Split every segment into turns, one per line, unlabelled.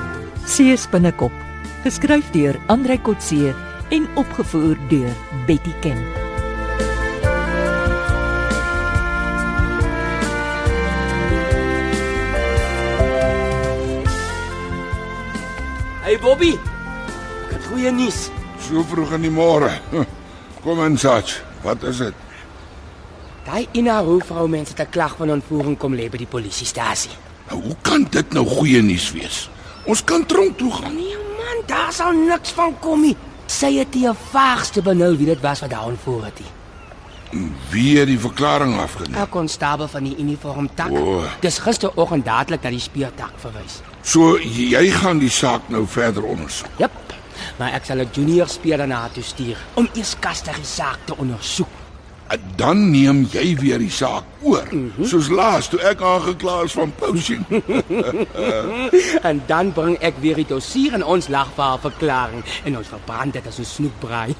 Kotse se binnekop, geskryf deur Andrei Kotse en opgevoer deur Betty Ken.
Hey Bobby, ek het goeie nuus.
So vroeg in die môre. Hm. Kom in, Sach. Wat is dit?
Daai Ina Hoofvrou mense het 'n klag van ontvoering kom lê by die polisiestasie.
Nou, hoe kan dit nou goeie nuus wees? Ons kan tronk toe gaan.
Nee man, daar sal niks van kom nie. Sy het die vaagste benul wie dit was wat daar ontvoer het. die.
Wie het die verklaring afgeneem?
'n Konstabel van die uniformtak.
O.
Dis gisteroggend dadelik na die speurtak verwys.
So jy gaan die saak nou verder ondersoek.
Jep. Maar ek sal 'n junior speurder na haar toe stuur om eers kastig die saak te ondersoek.
En Dan neem jy weer die saak oor, soos laas toe ek aangekla is van poaching.
En dan bring ek weer die dossier en ons lag vir haar verklaring en ons verbrand dit as 'n snoekbraai.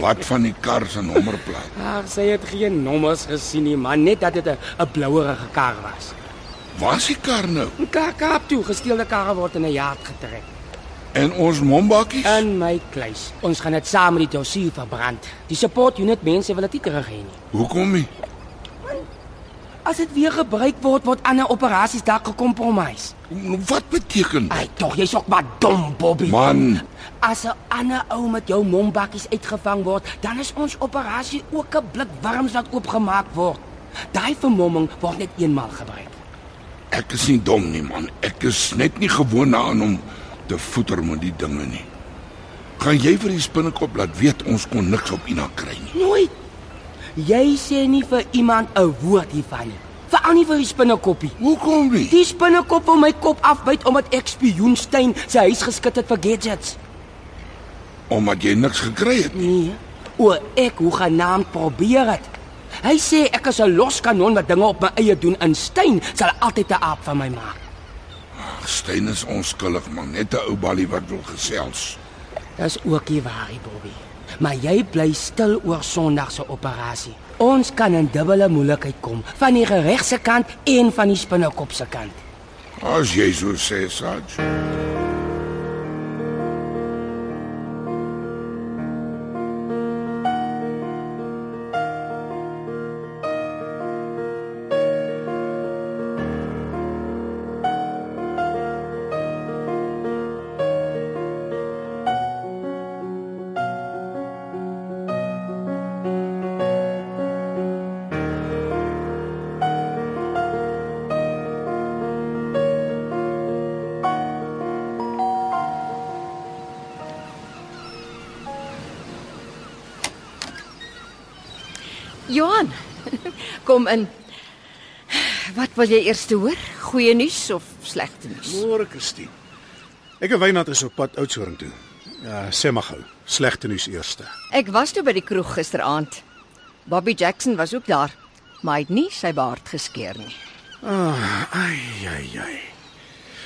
Wat van die kar se nommerplaat?
Ag, Ah, sy het geen nommers gesien nie, maar net dat dit 'n 'n blouerige kar was.
Waar's die kar nou?
'n Kar Kaap toe, gesteelde karre word in 'n jaard getrek.
En ons mombakkies?
In my kluis. Ons gaan dit saam met die dossier verbrand. Die support unit mense wil dit nie terug hê nie.
Hoekom nie?
As dit weer gebruik word, word ander operasies dalk gekompromis.
Wat beteken dit?
Ai, tog, jy's ook maar dom, Bobby.
Man.
as 'n ander ou met jou mombakkies uitgevang word, dan is ons operasie ook 'n blik warms wat oopgemaak word. Daai vermomming word net eenmal gebruik.
Ek is nie dom nie, man. Ek is net nie gewoond daaraan om te voeter met die dinge nie. Gaan jy vir die spinnekop laat weet ons kon niks op Ina kry nie.
Nooit. Jy sê nie vir iemand 'n woord hiervan nie. Veral nie vir die spinnekoppie.
Hoekom nie?
Die spinnekop wil my kop afbyt omdat ek spioenstein sy huis geskit het vir gadgets.
Omdat jy niks gekry het nie.
Nee. O, ek hoe genaamd probeer dit. Hy sê ek is 'n los kanon wat dinge op my eie doen en Stein sal altyd 'n aap van my maak.
Steyn is onskuldig, man. Net 'n ou balie wat wil gesels.
Dis ook nie waar, nie, Bobby. Maar jy bly stil oor Sondag se operasie. Ons kan in dubbele moeilikheid kom, van die gereg se kant en van die spinnekop se kant.
As jy so sê, Saj.
Johan, kom in. Wat wil jy eers hoor? Goeie nuus of slegte nuus?
Môre, Christine. Ek en Wynand is op pad Oudtshoorn toe. Ja, sê maar gou. Slegte nuus eerste.
Ek was toe by die kroeg gisteraand. Bobby Jackson was ook daar, maar hy het nie sy baard geskeer nie.
Ah, Ai ai ai.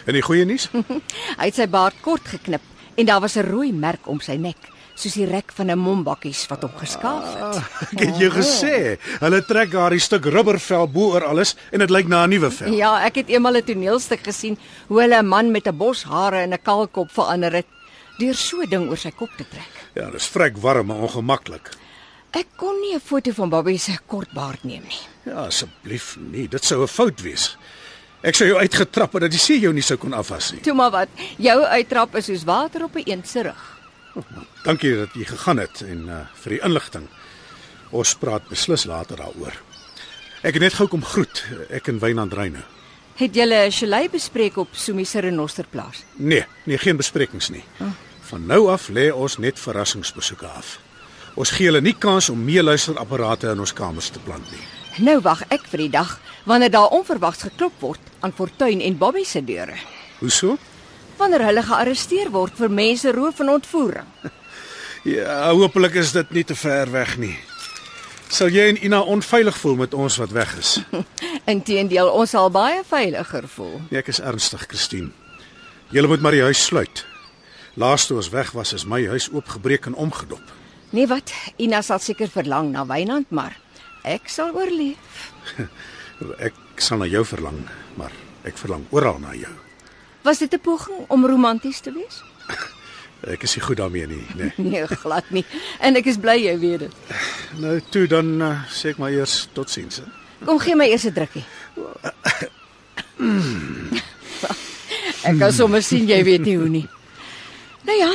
En die goeie nuus?
Hy het sy baard kort geknip en daar was 'n rooi merk om sy nek, soos die rek van 'n mombakkies wat hom geskaaf het.
Ek het jou gesê, hulle trek daardie stuk rubbervel bo oor alles en dit lyk na 'n nuwe vel.
Ja, ek het eendag 'n toneelstuk gesien hoe hulle 'n man met 'n bos hare en 'n kaal kop verander het deur so 'n ding oor sy kop te trek.
Ja, dis vrek warm maar ongemaklik.
Ek kon nie 'n foto van Bobby se kort baard neem nie.
Ja, asseblief nie. Dit sou 'n fout wees. Ek sou jou uitgetrap het dat die see jou nie sou kon afwas nie.
Toe maar wat, jou uittrap is soos water op 'n eend se rug.
Dankie dat jy gegaan het en uh, vir die inligting. Ons praat beslis later daaroor. Ek het net gou kom groet. uh, Ek en Wynand Reyne.
Het julle 'n chalet bespreek op Sumi se renosterplaas?
Nee, nee geen besprekings nie. Van nou af lê ons net verrassingsbesoeke af. Ons gee hulle nie kans om meeluisterapparate in ons kamers te plant nie.
Nou wag ek vir die dag wanneer daar onverwags geklop word aan Fortuin en Bobby se deure.
Hoeso?
Wanneer hulle gearresteer word vir mense roof en ontvoering.
Ja, hopelik is dit nie te ver weg nie. Sal jy en Ina onveilig voel met ons wat weg is?
Inteendeel, ons sal baie veiliger voel.
Nee, ek is ernstig, Christine. Jy moet maar die huis sluit. Laas toe ons weg was, is my huis oopgebreek en omgedop.
Nee wat, Ina sal seker verlang na Wynand, maar ek sal oorleef.
Ek sal na jou verlang, maar ek verlang oral na jou.
Was dit 'n poging om romanties te wees?
Ek is nie goed daarmee nie, né. Nee.
Nee, glad nie. En ek is bly jy weet dit.
Nou toe dan uh, sê ek maar eers totsiens. hè.
Kom gee my eers 'n drukkie. Ek kan sommer sien jy weet nie hoe nie. Nou ja,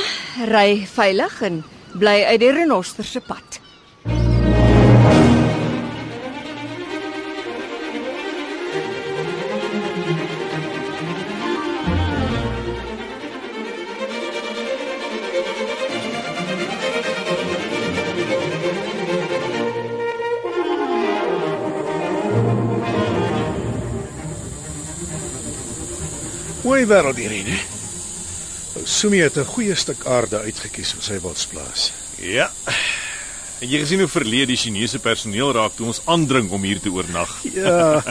ry veilig en bly uit die renoster se pad.
Mooi wêreld hierdie, né? Ou Sumi het 'n goeie stuk aarde uitgekies vir sy wildsplaas.
Ja. En jy gesien hoe verlede die Chinese personeel raak toe ons aandring om hier te oornag.
Ja.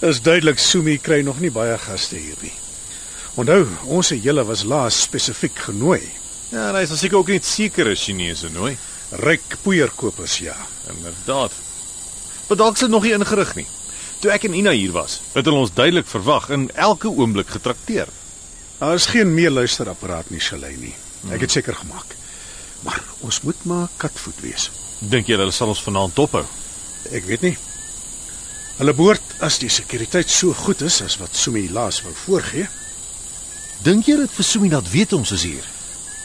Is duidelik Sumi kry nog nie baie gaste hier nie. Onthou, ons se hele was laas spesifiek genooi.
Ja, en hy is dan seker ook net sekere Chinese, nooi.
Ryk poeierkopers, ja.
Inderdaad. Maar dalk sit nog nie ingerig nie. Toe ek en Ina hier was, het hulle ons duidelik verwag en elke oomblik getrakteer.
Daar is geen meer luisterapparaat nie, Shalay nie.
Hmm.
Ek het seker gemaak. Maar ons moet maar katvoet wees.
Dink jy hulle sal ons vanaand dophou?
Ek weet nie. Hulle behoort as die sekuriteit so goed is as wat Sumi laas wou voorgee.
Dink jy dit vir Sumi dat weet ons is hier?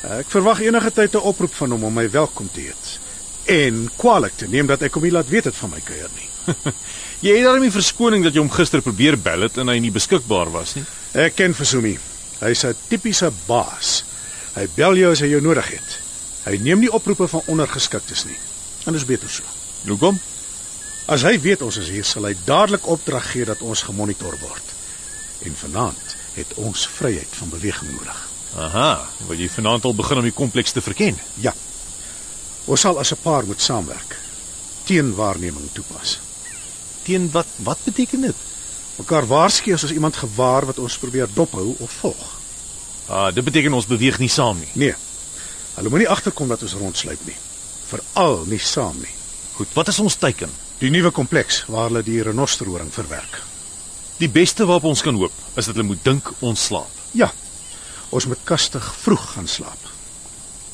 Ek verwag enige tyd 'n oproep van hom om my welkom te heet en kwaliek te neem dat ek hom nie laat weet het van my kuier nie.
Jy het daarmee verskoning dat jy hom gister probeer bel het en hy nie beskikbaar was nie.
Ek ken Fasumi. Hy's 'n tipiese baas. Hy bel jou as hy jou nodig het. Hy neem nie oproepe van ondergeskiktes nie. En dis beter so.
Hoekom?
As hy weet ons is hier, sal hy dadelik opdrag gee dat ons gemonitor word. En vanaand het ons vryheid van beweging nodig.
Aha, wil jy vanaand al begin om die kompleks te verken?
Ja. Ons sal as 'n paar moet saamwerk. Teenwaarneming toepas.
Teen wat wat beteken dit?
Mekaar waarsku as ons iemand gewaar wat ons probeer dophou of volg.
Ah, dit beteken ons beweeg nie saam nie.
Nee. Hulle moenie agterkom dat ons rondsluip nie. Veral nie saam nie.
Goed, wat is ons teiken?
Die nuwe kompleks waar hulle die renosterhoring verwerk.
Die beste waarop ons kan hoop is dat hulle moet dink ons slaap.
Ja. Ons moet kastig vroeg gaan slaap.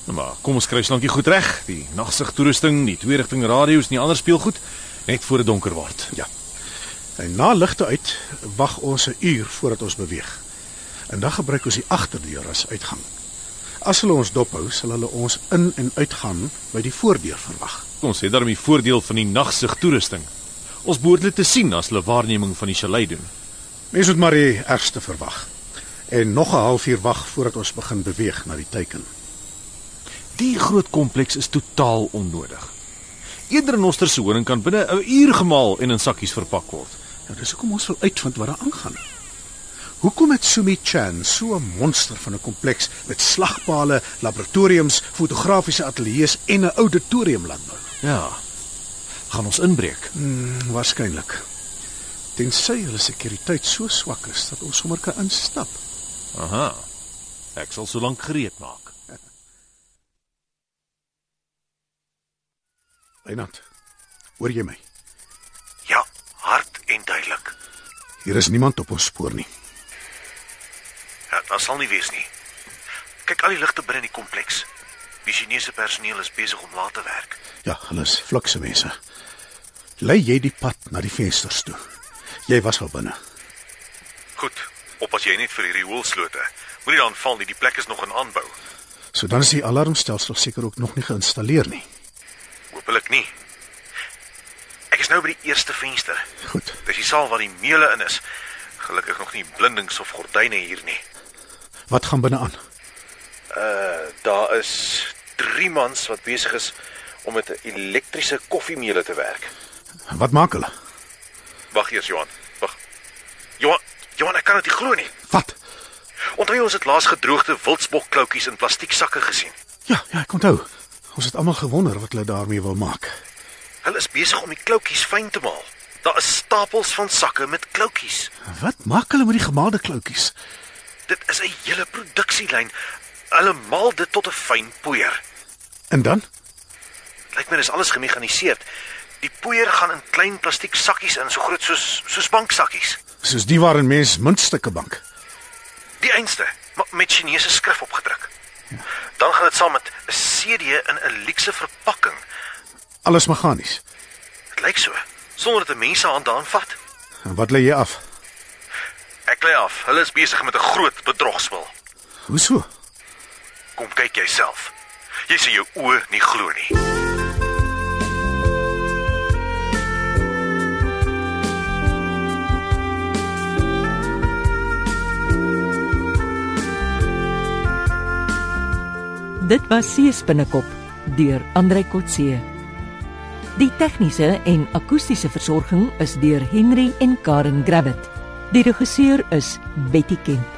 Nou maar, kom ons kry slankie goed reg, die nagsigtoerusting, die tweerigting radio's en die ander speelgoed net voor dit donker word.
Ja. En na ligte uit wag ons 'n uur voordat ons beweeg. En dan gebruik ons die agterdeur as uitgang. As hulle ons dophou, sal hulle ons in en uitgaan by die voordeur verwag.
Ons het daarmee voordeel van die nagsigtoerusting. Ons behoort dit te sien as hulle waarneming van die chalet doen.
Mens moet maar die ergste verwag. En nog 'n halfuur wag voordat ons begin beweeg na die teiken.
Die groot kompleks is totaal onnodig. Eerder 'n oster se horing kan binne 'n uur gemaal en in sakkies verpak word.
Nou dis hoekom ons wil uitvind wat daar aangaan. Hoekom het Sumi Chan so 'n monster van 'n kompleks met slagpale, laboratoriums, fotografiese ateljee's en 'n auditorium laat bou?
Ja. Gaan ons inbreek.
Hmm, waarskynlik. Tensy hulle sekuriteit so swak is dat ons sommer kan instap.
Aha. Ek sal solank gereed maak.
Reinhard, hoor jy my?
Ja, hard en duidelik.
Hier is niemand op ons spoor nie.
Ja, daar sal nie wees nie. Kyk al die ligte binne in die kompleks. Die Chinese personeel is besig om laat te werk.
Ja, hulle is flikse mense. Lei jy die pad na die vensters toe. Jy was al binne.
Goed, oppas jy net vir hierdie hoelslote. Moenie dan val nie, die plek is nog in aanbou.
So dan is die alarmstelsel seker ook nog nie geïnstalleer nie.
Hoopelik nie. Ek is nou by die eerste venster.
Goed.
Dis die saal waar die meule in is. Gelukkig nog nie blindings of gordyne hier nie.
Wat gaan binne aan?
Daar is 3 mans wat besig is om met 'n elektriese koffiemeule te werk.
Wat maak hulle?
Wag eers, Johan. Wag. Johan, Johan, ek kan dit nie glo nie.
Wat?
Onthou jy ons het laas gedroogde wildsbokkloutjies in plastieksakke gesien.
Ja, ja, ek onthou. Ons het almal gewonder wat hulle daarmee wil maak.
Hulle is besig om die kloutjies fyn te maal. Daar is stapels van sakke met kloutjies.
Wat maak hulle met die gemaalde kloutjies?
Dit is 'n hele produksielyn. Hulle maal dit tot 'n fyn poeier.
En dan?
Lyk my dis alles gemekaniseerd. Die poeier gaan in klein plastiek sakkies in, so groot soos soos banksakkies.
Soos die waarin mens muntstukke bank.
Die einste, maar met Chinese skrif opgedruk. Dan gaan dit saam met 'n CD in 'n luukse verpakking.
Alles meganies.
Dit lyk so, sonder dat 'n mens se hand daaraan vat.
En wat lê jy af?
Ek lei af. Hulle is besig met 'n groot bedrogspel.
Hoe so?
Kom kyk jouself. Jy sien jou oë nie glo nie.
Dit was Sees binnekop deur Andrei Kotse. Die tegniese en akoestiese versorging is deur Henry en Karen Gravett. Die regisseur is Betty Kemp.